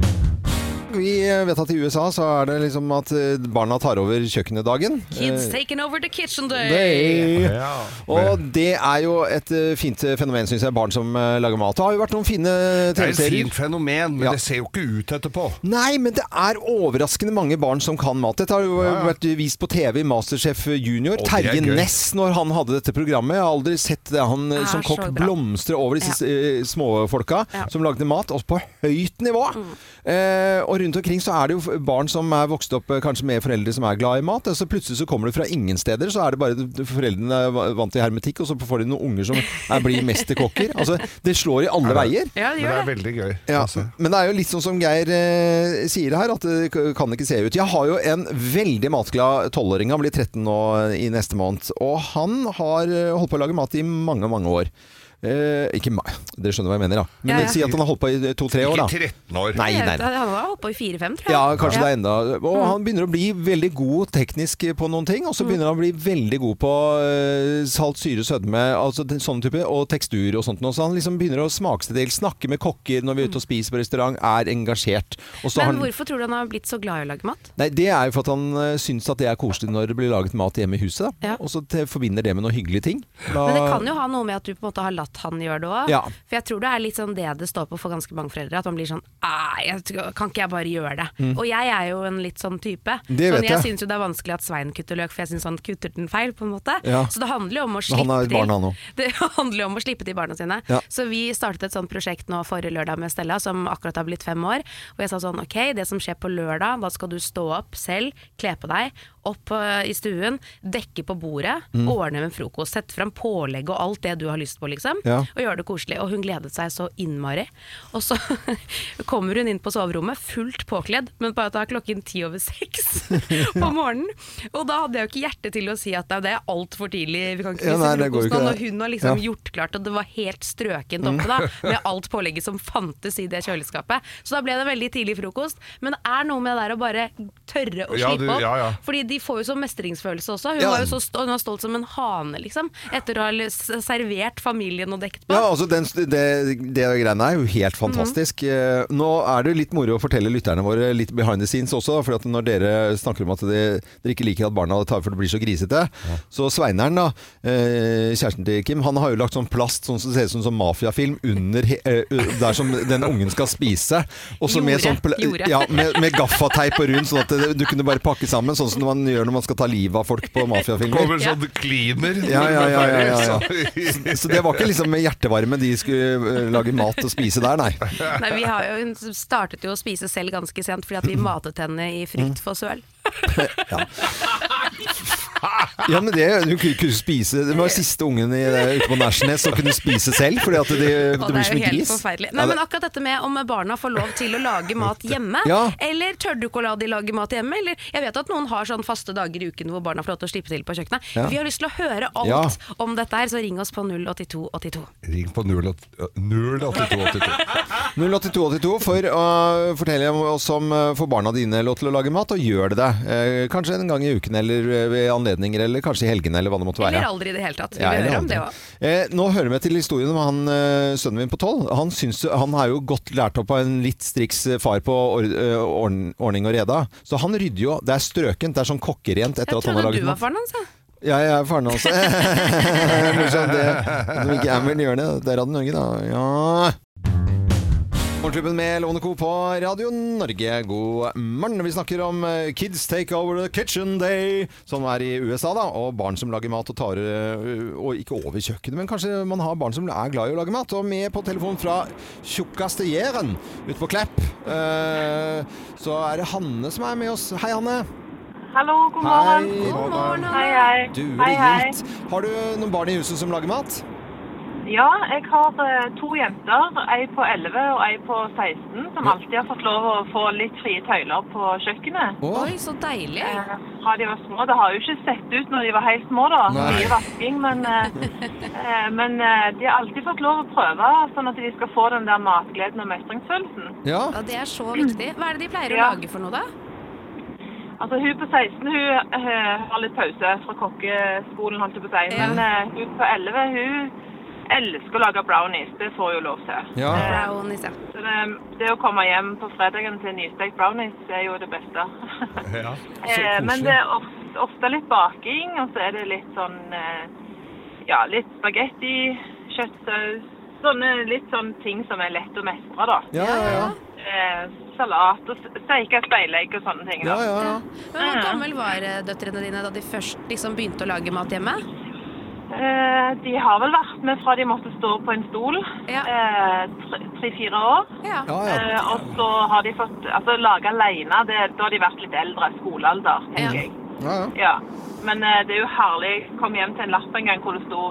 Vi vet at i USA så er det liksom at eh, barna tar over kjøkkendagen.
Kids taking over the kitchen day!
Nei.
Ja.
Og det er jo et eh, fint fenomen, syns jeg, barn som eh, lager mat. Det har jo vært noen fine
Det er et
TV-serier.
fint fenomen, men
Ja.
det ser jo ikke ut etterpå.
Nei, men det er overraskende mange barn som kan mat. Dette har jo
Ja, ja.
vært vist på TV i Masterchef eh, Junior.
Å, det er
Terje
gøy.
Næss, når han hadde dette programmet. Jeg har aldri sett det. han eh,
Er
som kokk
så bra.
blomstre over disse eh, småfolka
Ja. Mm.
som lagde mat, også på høyt nivå. Eh, og rundt omkring så er det jo f- barn som er vokst opp eh, kanskje med foreldre som er glad i mat. Og så plutselig så kommer det fra ingen steder, så er det bare d- foreldrene er va- vant til hermetikk, og så får de noen unger som er, blir mesterkokker. Altså, det slår i alle veier.
Ja, det
Men det
gjør
er
det.
veldig gøy.
Ja,
altså.
men det er jo litt sånn som Geir eh, sier her, at det k- kan ikke se ut. Jeg har jo en veldig matglad tolvåring. Han blir 13 nå eh, i neste måned. Og han har eh, holdt på å lage mat i mange, mange år. Eh, ikke meg, dere skjønner hva jeg mener, da. Men
Ja, ja.
si at han har holdt på i to-tre år,
Ikke
da.
13 år.
Nei, nei, nei.
Han har holdt på i fire-fem, tror jeg.
Ja, kanskje det er enda Og han begynner å bli veldig god teknisk eh, på noen ting, og så begynner han å bli veldig god på eh, salt, syre, sødme, altså den, sånne type, og tekstur og sånt noe. Så han liksom begynner å smake seg til, snakke med kokker når vi er ute og spiser på restaurant, er engasjert. Og så har
Men
han,
hvorfor tror du han har blitt så glad i å lage mat?
nei, det er jo for at han eh, syns at det er koselig når det blir laget mat hjemme i huset, da.
Ja.
Og så te- forbinder det med noen hyggelige ting. Da-
Men det kan jo ha noe med at du på en måte har latt han gjøre det òg.
Ja.
For jeg tror det er litt sånn det det står på for ganske mange foreldre. At man blir sånn «Æ, jeg tror- Kan ikke jeg bare gjøre det? Og jeg er jo en litt sånn type.
Mm. Det
sånn,
vet
jeg
jeg.
syns jo det er vanskelig at Svein kutter løk, for jeg syns han kutter den feil, på en måte.
Ja.
Så det handler jo om å
Men
slippe
han er et barn,
til.
han også.
Det handler jo om å slippe til barna sine.
Ja.
Så vi startet et sånt prosjekt nå forrige lørdag med Stella, som akkurat har blitt fem år. Og jeg sa sånn, ok, det som skjer på lørdag, da skal du stå opp selv, kle på deg, opp eh, i stuen, dekke på bordet,
Mm.
ordne med frokost, sette fram pålegg og alt det du har lyst på, liksom.
Ja.
Og gjøre det koselig. Og hun gledet seg så innmari. Og så kommer hun inn på soverommet, fullt påkledd, men bare at det er klokken ti over seks på morgenen. Og da hadde jeg jo ikke hjerte til å si at nei, det er altfor tidlig, vi kan ikke
Ja,
spise
nei, det går jo
frokost
ikke,
nå. Når
det.
hun har liksom
Ja.
gjort klart, og det var helt strøkent oppe da, med alt pålegget som fantes i det kjøleskapet. Så da ble det veldig tidlig frokost. Men det er noe med det der å bare tørre å
Ja,
slippe
du-
opp.
ja, ja.
Fordi de får jo sånn mestringsfølelse også. Hun
Ja.
var jo så stolt, hun var stolt som en hane, liksom. Etter å ha l- s- servert familien og dekket på.
Ja, altså den, det, det greiene er jo helt fantastisk. Eh, Nå er det jo litt moro å fortelle lytterne våre litt behind the scenes også. For at når dere snakker om at de, dere ikke liker at barna tar for det blir så grisete, så Sveineren, da, eh, kjæresten til Kim, han har jo lagt sånn plast sånn som ser ut som sånn mafiafilm under he- eh, u- der som den ungen skal spise. Og så med
Jordet,
sånn pla-
jordet.
ja, med, med gaffateip og rundt, sånn at det, du kunne bare pakke sammen. Sånn som man gjør når man skal ta livet av folk på mafiafilmer.
Kommer en sånn cleaner.
Ja, ja, ja, ja, ja,
ja.
Så det var ikke liksom med hjertevarme de skulle eh, lage mat og spise der, nei.
Nei, vi har jo, hun startet jo å spise selv ganske sent fordi at vi matet henne i frykt for søl.
Ja, men det, hun kunne kunne spise Det var siste ungen i, eh, ute på Nærsnes som kunne spise selv, fordi at det, det,
Og
blir
det
som
er jo
en
helt
gris.
forferdelig.
Ja,
Nei,
det-
men akkurat dette med om barna får lov til å lage mat hjemme,
Ja.
eller tør du ikke å la de lage mat hjemme? Eller, jeg vet at noen har sånn faste dager i uken hvor barna får lov til å slippe til på kjøkkenet.
Ja.
Vi har lyst til å høre alt
Ja.
om dette her, så ring oss på 08282.
Ring på 08282.
08282 for å fortelle om- oss om eh, får barna dine lov til å lage mat, og gjør det det. Eh, Kanskje en gang i uken eller eh, ved anledninger, eller kanskje i helgene, eller hva det måtte være.
Eller aldri i det hele tatt. Vi
Ja,
vil
eller
høre om
andre.
det òg.
Eh, nå hører vi til historien om han, eh, sønnen min på tolv. Han, syns- han er jo godt lært opp av en litt striks eh, far på or, eh, ordn- ordning og reda. Så han rydder jo. Det er strøkent, det er sånn kokkerent etter
Jeg
at han har
trodde
laget
du
mat.
var faren hans, jeg.
Ja, jeg er faren hans. Morsomt det. At de ikke er med gjør det. Der hadde Norge, da. Ja. Morgenklubben med Lovende Co. på Radio Norge, god morgen. Vi snakker om eh, Kids Take Over The Kitchen Day, som er i USA, da. Og barn som lager mat og tar eh, Og ikke over kjøkkenet, men kanskje man har barn som er glad i å lage mat. Og med på telefon fra tjukkaste Jæren ute på Klepp, eh, så er det Hanne som er med oss. Hei, Hanne.
Hallo, god morgen.
Hei.
God morgen,
Hei,
Anna.
hei.
Du,
Hei, hei.
hit. Har du noen barn i huset som lager mat?
Ja, jeg har eh, to jenter, ei på 11 og ei på 16, som alltid har fått lov å få litt frie tøyler på kjøkkenet.
Å,
Oi, så deilig.
Eh, Fra de var små. Det har jo ikke sett ut når de var helt små, da.
Nei.
Mye vasking, men, eh, eh, men eh, de har alltid fått lov å prøve, sånn at de skal få den der matgleden og mestringsfølelsen.
ja.
Ja, det er så viktig. Hva er det de pleier å
Ja.
lage for noe, da?
Altså, hun på 16 hun eh, har litt pause fra kokkeskolen, holdt jeg på å si.
Ja.
Men eh, hun på 11 hun elsker å lage brownies. Det får hun lov til.
Ja.
Brownies, ja.
Så det, det å komme hjem på fredagen til nystekt brownies er jo det beste.
Ja.
Eh, Men det er ofte, ofte litt baking, og så er det litt sånn eh, Ja, litt spagetti, kjøttsaus. Sånne litt sånn ting som er lett å mestre, da.
Ja, ja, ja.
Eh, salat og steike speilegg og sånne ting.
ja,
da.
ja, ja.
Men
Mm.
Hvor gammel var eh, døtrene dine da de først liksom begynte å lage mat hjemme?
Eh, de har vel vært med fra de måtte stå på en stol.
Ja.
Eh, tre- Tre-fire år.
Ja.
ja, ja.
Eh, og så har de fått altså, lage alene. Det, da har de vært litt eldre. Skolealder, tenker
Ja.
jeg.
ja, ja.
Ja. Men eh, det er jo herlig. Jeg kom hjem til en lapp en gang hvor det sto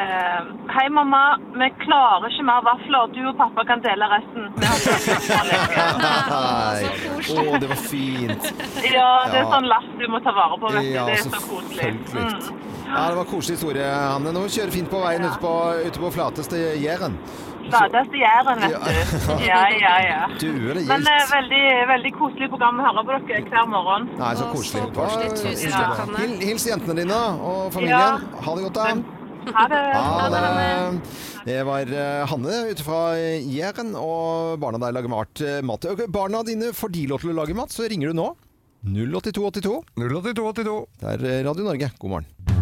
eh, Hei, mamma. Vi klarer ikke mer vafler. Du og pappa kan dele resten. Det har vi gjort for lenge.
Nei. Å, det var fint.
ja, det er
Ja.
sånn lapp du må ta vare på. Vet du.
Ja,
det er så koselig.
selvfølgelig.
Mm.
Ja, det var koselig historie, Hanne. Nå kjører fint på veien ute på, ute på flateste Jæren.
Ladeste Jæren, vet du. Ja, ja, ja.
Due eller
Men eh,
gildt?
veldig, veldig koselig program å høre på dere hver morgen.
Nei, så
Å,
koselig.
så koselig. Tusen
takk,
Hanne.
Hil, hils jentene dine og
Ja.
familien. Ha det godt, da.
Ha det!
Ha det. Det var eh, Hanne ute fra Jæren, og barna der lager mat. eh, mat. Ok, Barna dine får de lov til å lage mat, så ringer du nå. 08282.
08282.
Det er eh, Radio Norge. God morgen.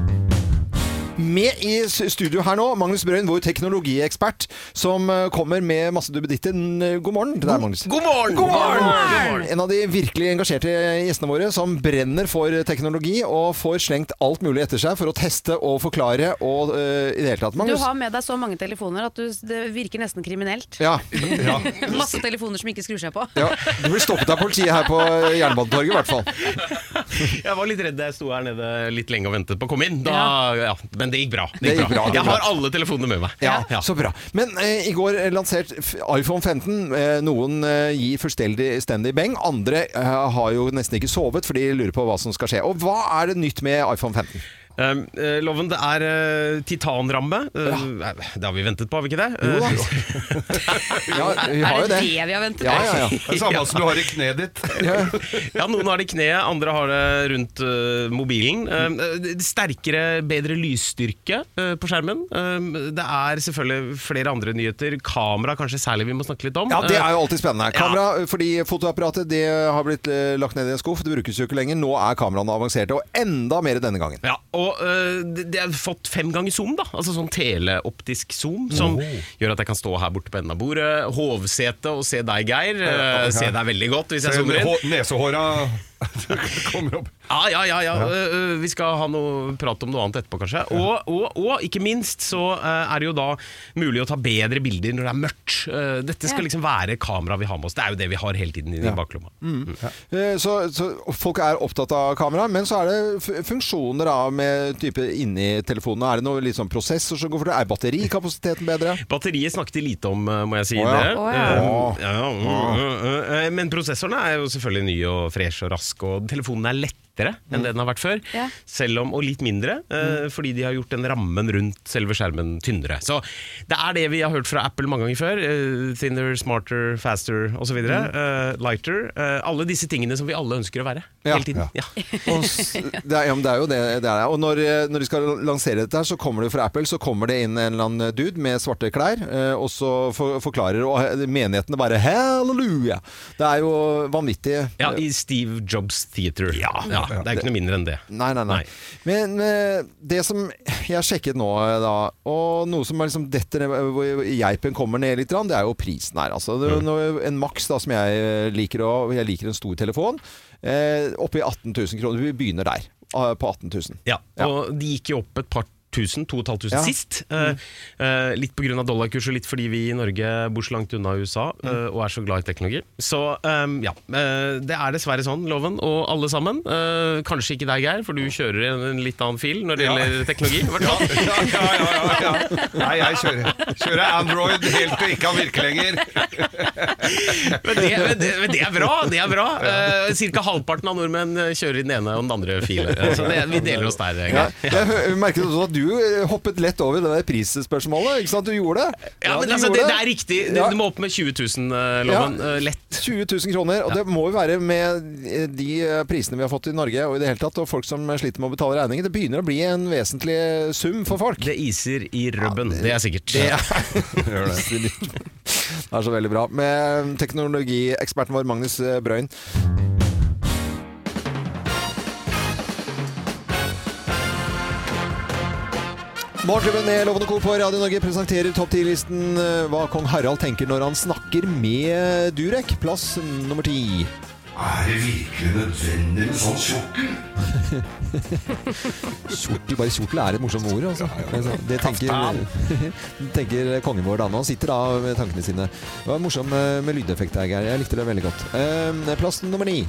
Med i s- studio her nå, Magnus Brøyn, vår teknologiekspert, som eh, kommer med masse duppeditter. N- eh, God morgen til deg, Magnus.
God morgen! God morgen!
En av de virkelig engasjerte gjestene våre som brenner for teknologi og får slengt alt mulig etter seg for å teste og forklare og eh, i det hele tatt.
Du
Magnus.
har med deg så mange telefoner at du, det virker nesten kriminelt.
Ja.
Masse telefoner som ikke skrur seg på.
Ja, du blir stoppet av politiet her på Jernbanetorget i hvert fall.
Jeg var litt redd da jeg sto her nede litt lenge og ventet på å komme inn. Da, ja. Men det gikk bra. Det
Det gikk bra, det gikk
Jeg har alle telefonene med meg.
Ja,
Ja.
Så bra. Men eh, i går eh, lansert f- iPhone 15. Eh, noen eh, gir fullstendig stendig beng. Andre eh, har jo nesten ikke sovet, for de lurer på hva som skal skje. Og hva er det nytt med iPhone 15?
Um, eh, Loven, det er eh, titanramme. Eh, nei, Det har vi ventet på, har vi ikke det?
Jo da.
Eh,
Ja, vi har
Er
jo
det
det.
det vi har ventet
Ja, ja, ja.
Det er samme som du har i kneet ditt.
Eh, ja, Noen har det i kneet, andre har det rundt eh, mobilen. Eh, eh, sterkere, bedre lysstyrke eh, på skjermen. Eh, det er selvfølgelig flere andre nyheter. Kamera kanskje særlig vi må snakke litt om.
Ja, det er
Eh,
jo alltid spennende. Kamera, fordi Fotoapparatet det har blitt eh, lagt ned i en skuff, det brukes jo ikke lenger. Nå er kameraene avanserte, og enda mer denne gangen.
Ja, og øh, det det har fått fem ganger zoom, da. Altså sånn teleoptisk zoom, som gjør at jeg kan stå her borte på enden av bordet, hovsete og se deg, Geir. Øh,
ja.
Se deg veldig godt hvis jeg zoomer inn.
Hå- Nesehåra kommer opp.
Ja, ja, ja. ja. Øh, øh, vi skal ha noe prat om noe annet etterpå, kanskje. Og, og, og ikke minst så øh, er det jo da mulig å ta bedre bilder når det er mørkt. Øh, dette skal liksom være kameraet vi har med oss. Det er jo det vi har hele tiden i baklomma.
Eh, Så, så folk er opptatt av kamera, men så er det f- funksjoner da, med type inni telefonene. Er det noe litt sånn prosessor som går for det? Er batterikapasiteten bedre?
Batteriet snakket de lite om, eh, må jeg si.
Å ja.
dere.
Å ja.
Eh, ja, ja, mm, eh, eh, Men prosessorene er jo selvfølgelig nye og fresh og rask, og telefonen er lettere enn det den har vært før.
Mm. Ja. Mm.
Selv om, og litt mindre, eh, fordi de har gjort den rammen rundt selve skjermen tynnere. Så det er det vi har hørt fra Apple mange ganger før. eh, Thinner, smarter, faster osv.
Mm.
Uh, lighter. eh, alle disse tingene som vi alle ønsker å være
Ja.
hele tiden.
Ja.
Ja.
Og s- det, er, ja, men det er jo det det er. Og når, eh, når de skal lansere dette, her, så kommer det fra Apple så kommer det inn en eller annen eh, dude med svarte klær, eh, og så for, forklarer og he- menighetene bare 'halleluja'. Det er jo vanvittig.
Ja, I Steve Jobs Theater. Ja, Det er ikke noe mindre enn det.
Nei, nei, nei.
Nei.
Men eh, det som jeg sjekket nå, eh, da, og noe som er liksom detter ned, eh, hvor geipen kommer ned litt, grann, det er jo prisen her. Altså.
Mm.
Det, er jo noe- En maks da, som jeg eh, liker, og jeg liker en stor telefon, eh, oppi 18 000 kroner. Vi begynner der, eh, på 18 000.
Ja, og de gikk jo opp et par tusen, 2500
Ja.
sist. Eh, eh, litt pga. dollarkurs og litt fordi vi i Norge bor så langt unna USA eh, og er så glad i teknologi. Så eh, ja, eh, det er dessverre sånn, Loven, og alle sammen. Eh, kanskje ikke deg, Geir, for du kjører i en, en litt annen fil når det
Ja.
gjelder teknologi. i hvert
Ja,
fall.
ja, ja, ja, ja. Nei, jeg kjører, kjører Android helt til det ikke kan virke lenger.
Men det, men det, men det er bra! det er bra Eh, Cirka halvparten av nordmenn eh, kjører i den ene og den andre filen. Eh, Så det, vi deler oss der, eh, Geir.
Ja. Jeg hø- merket også at du eh, hoppet lett over det der prisspørsmålet. Ikke sant? Du gjorde det.
Ja, men
du
altså, det,
gjorde
det er riktig. Du,
Ja.
du må opp med 20 000, eh, Loven.
Ja.
Eh, lett.
20 000 kroner, og det må jo være med de eh, prisene vi har fått i Norge og i det hele tatt, og folk som sliter med å betale regninger. Det begynner å bli en vesentlig sum for folk.
Det iser i rubben, det, er sikkert.
Det er, det er så veldig bra. Med teknologieksperten vår Magnus eh, Brøyn. Morgenklubben med Lovende Co. på Radio Norge presenterer topp 10-listen eh, hva kong Harald tenker når han snakker med Durek. Plass nummer ti.
Er det virkelig nødvendig med sånn kjokkel?
Kjortel, bare kjortel er et morsomt ord, altså. Det tenker, tenker kongen vår da nå. Han sitter da med tankene sine. Det var morsom eh, med lydeffekt her, Geir. Jeg likte det veldig godt. Eh, Plass nummer ni.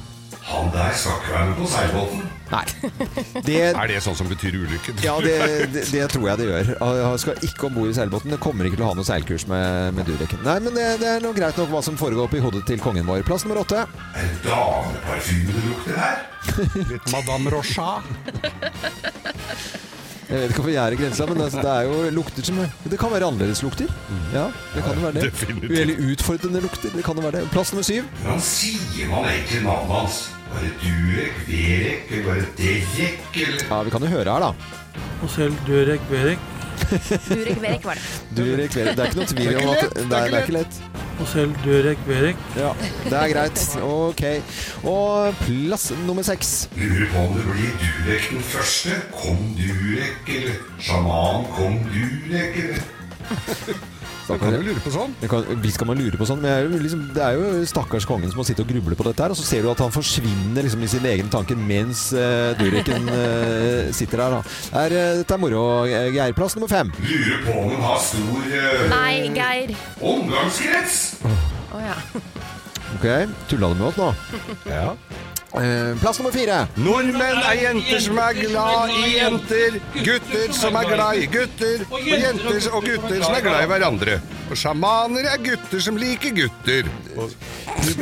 Han der skal ikke være med på seilbåten.
Nei. Det
Er det sånn som betyr ulykken?
Ja, det, det, det tror jeg det gjør. Han skal ikke om bord i seilbåten. Det kommer ikke til å ha noe seilkurs med, med Durek. Nei, men det, det er noe greit nok hva som foregår oppi hodet til kongen vår. Plass nummer åtte.
Er det dameparfyme det lukter her?
Litt Madame Rochat.
Jeg vet ikke om vi er i grensa, men altså, det er jo lukter som Det kan være annerledes lukter. Ja, det kan jo være det.
Definitivt.
Eller utfordrende lukter. Det kan jo være det. Plass nummer syv.
Hvordan sier man egentlig navnet hans? Var det Durek, Verek eller var det Derek? Eller?
Ja, vi kan jo høre her, da.
Selv Durek Berek.
Durek Verek var det.
Durek, det er ikke noe tvil om at Nei, det er ikke lett.
Selv Durek Berek.
Ja, det er greit. Ok. Og plass nummer seks.
Lurer på om det blir Durek den første? Kong Durek eller sjaman kong Durek? Eller?
Du kan jo lure på sånn.
Det kan, visst kan man lure på sånn, men jeg er jo liksom, det er jo stakkars kongen som har sittet og grublet på dette her, og så ser du at han forsvinner liksom i sine egne tanker mens eh, Dureken eh, sitter der. Da. Det er, eh, dette er moro. Eh, Geir, plass nummer fem.
Lurer på om hun har stor eh,
Nei, Geir.
omgangskrets?
Å ja.
Ok, tulla du med oss nå? Eh, plass nummer fire.
Nordmenn er jenter som er glad i jenter, gutter som er glad i gutter, og jenter og gutter som er glad i hverandre. Og sjamaner er gutter som liker gutter.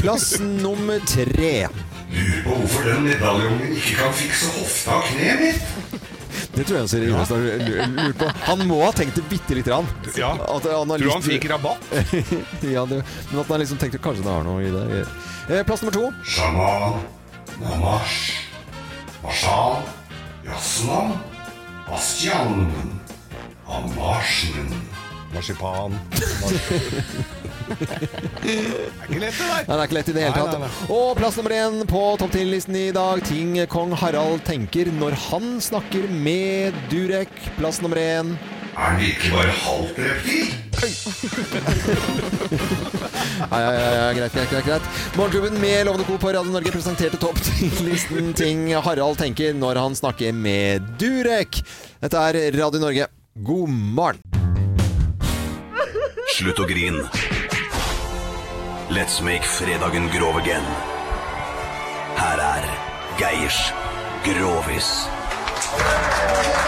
Plass nummer tre.
Lurer på hvorfor den medaljongen ikke kan fikse hofta og kneet mitt?
Det tror jeg han seriøst har lu- lurt på. Han må ha tenkt det bitte lite grann.
Ja.
At han har
Tror du
lyst
han fikk rabatt?
ja, det, men at han har liksom tenkt at kanskje det har noe i det. Eh, Plass nummer to.
Shaman, Namash, Mashal, Yaslan, Asyan, Amashin.
Marsipan. Det er ikke lett, det
Nei,
der.
det er ikke lett i det hele
Nei,
tatt.
nei, nei.
Og plass nummer én på topp 10-listen i dag. Ting kong Harald tenker når han snakker med Durek. Plass nummer én.
Er det ikke bare halvt reptil?
Ja, ja, ja, ja, greit, greit, greit, greit. Morgenklubben med Lovende Co på Radio Norge presenterte topp 10-listen ting Harald tenker når han snakker med Durek. Dette er Radio Norge. God morgen.
Slutt å grin. Let's make fredagen grov again. Her er Geirs Grovis.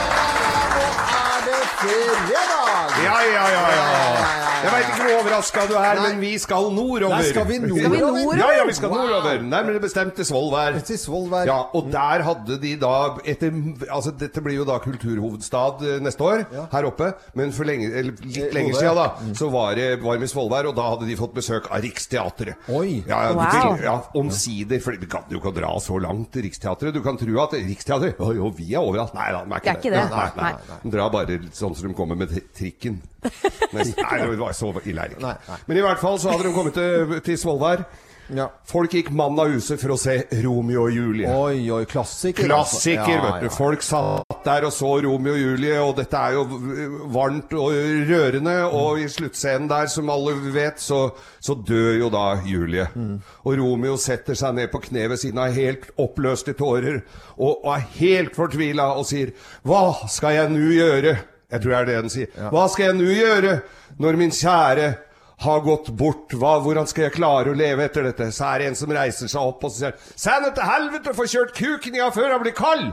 Er det fredag?
Ja, ja, ja, ja. Jeg veit ikke hvor overraska du er, men vi skal nordover.
Nei, skal vi nordover?
Ja, ja, vi skal nordover. Nærmere bestemt til Svolvær.
Til Svolvær.
Ja, og der hadde de da etter, altså Dette blir jo da kulturhovedstad eh, neste år, her oppe. Men for lenge, eller litt lenger
Bodø.
siden da, så var det var med Svolvær, og da hadde de fått besøk av Riksteatret.
Oi.
Ja, ja,
Wow.
til, ja, Omsider. For vi gadd jo ikke å dra så langt til Riksteatret. Du kan tro at Riksteatret Å jo, vi er overalt. Nei da, de er ikke,
Det er ikke det.
Nei, nei, nei, nei. De drar bare litt sånn som de kommer med tri- trikken. Nesten. Nei, det var så ille er det
Nei,
ikke.
nei.
Men i hvert fall så hadde de kommet til, til Svolvær.
Ja.
Folk gikk mann av huset for å se Romeo og Julie.
Oi, oi, klassiker.
Klassiker,
altså. Ja,
vet du.
ja.
Folk satt der og så Romeo og Julie, og dette er jo v- varmt og rørende.
Mm.
Og i sluttscenen der, som alle vet, så, så dør jo da Julie.
Mm.
Og Romeo setter seg ned på kne ved siden av, helt oppløst i tårer, og, og er helt fortvila og sier Hva skal jeg nå gjøre? Jeg tror det er det den sier. Hva skal jeg nå gjøre når min kjære har gått bort, hva, hvordan skal jeg klare å leve etter dette? Så er det en som reiser seg opp og så sier Send det til helvete, få kjørt kuken i han før han blir kald!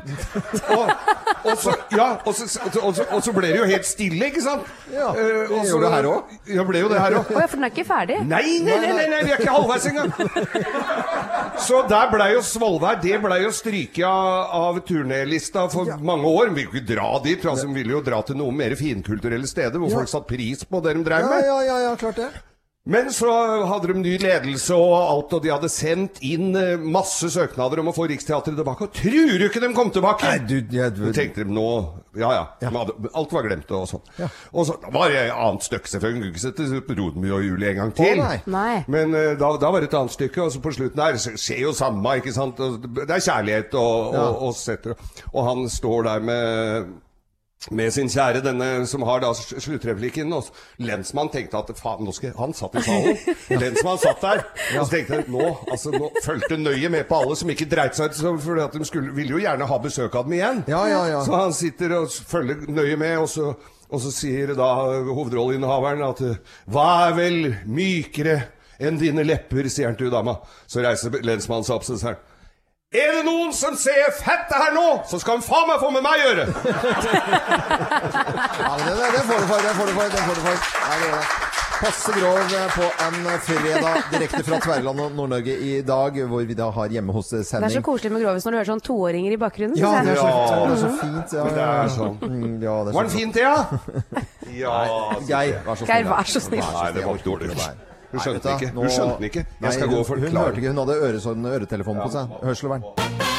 og, og, så, ja, og, så, og, så, og, så, og så ble det jo helt stille, ikke sant?
Ja,
Eh,
det
og så-
gjorde det her også.
Ja, ble jo det her òg.
Å ja, for den er ikke ferdig?
Mm.
Nei, nei, nei, nei, nei, vi er ikke halvveis engang! Så der blei jo Svolvær Det blei jo stryket av, av turnélista for mange år. Men vi kunne ikke dra dit, for altså, vi ville jo dra til noen mer finkulturelle steder hvor folk satte pris på det de drev
Ja,
med.
ja, ja, ja, klart det.
Men så hadde de ny ledelse og alt, og de hadde sendt inn eh, masse søknader om å få Riksteatret tilbake. Og tror du ikke de kom tilbake?
Nei, du, jeg,
Så tenkte de nå Ja, ja. de Hadde, alt var glemt og sånn. Og så da var det et annet stykke, selvfølgelig. Kunne ikke sette Rodenby og Julie en gang til.
nei.
Nei.
Men eh, da, da var det et annet stykke, og så på slutten der så skjer jo samme, ikke sant. Og Det er kjærlighet og, og, og, setter, og han står der med med sin kjære, denne som har da s- sluttreplikken. Og s- lensmannen tenkte at faen, nå skal jeg Han satt i salen. Lensmannen satt der. Og så tenkte jeg nå altså nå fulgte nøye med på alle som ikke dreit seg ut, så- fordi at de skulle, ville jo gjerne ha besøk av dem igjen.
Ja, ja, ja.
Så han sitter og s- følger nøye med, og så, og så sier da hovedrolleinnehaveren at eh, Hva er vel mykere enn dine lepper, sier han til dama. Så reiser lensmannen seg opp, så sier han Er det noen som ser fettet her nå, så skal han faen meg få med meg å gjøre!
Ja, men det, det, det får du for, det får du for. Det får du for. Ja, det gjør det. Passe grov eh, på en fredag direkte fra Tverrland og Nord-Norge i dag, hvor vi da har hjemme hos eh,
Det er så
sending.
koselig med Grovis når du hører sånn toåringer i bakgrunnen.
Ja,
synes
det
jeg.
er så, det
Ja.
er så fint. Ja,
Det er sånn.
Mm, ja, det er
Var den
så
fin, Thea? Ja
Geir, vær så snill.
Geir,
da.
vær så snill.
Vær
Nei, det var
Jeg orker
dårlig.
det der.
Hun
Nei,
skjønte
vet du,
ikke. Hun
nå-
skjønte den ikke. Jeg
Nei,
skal gå og
hun- Hun
forklare.
hørte ikke, hun hadde øresånd, øretelefon på seg. Hørselvern.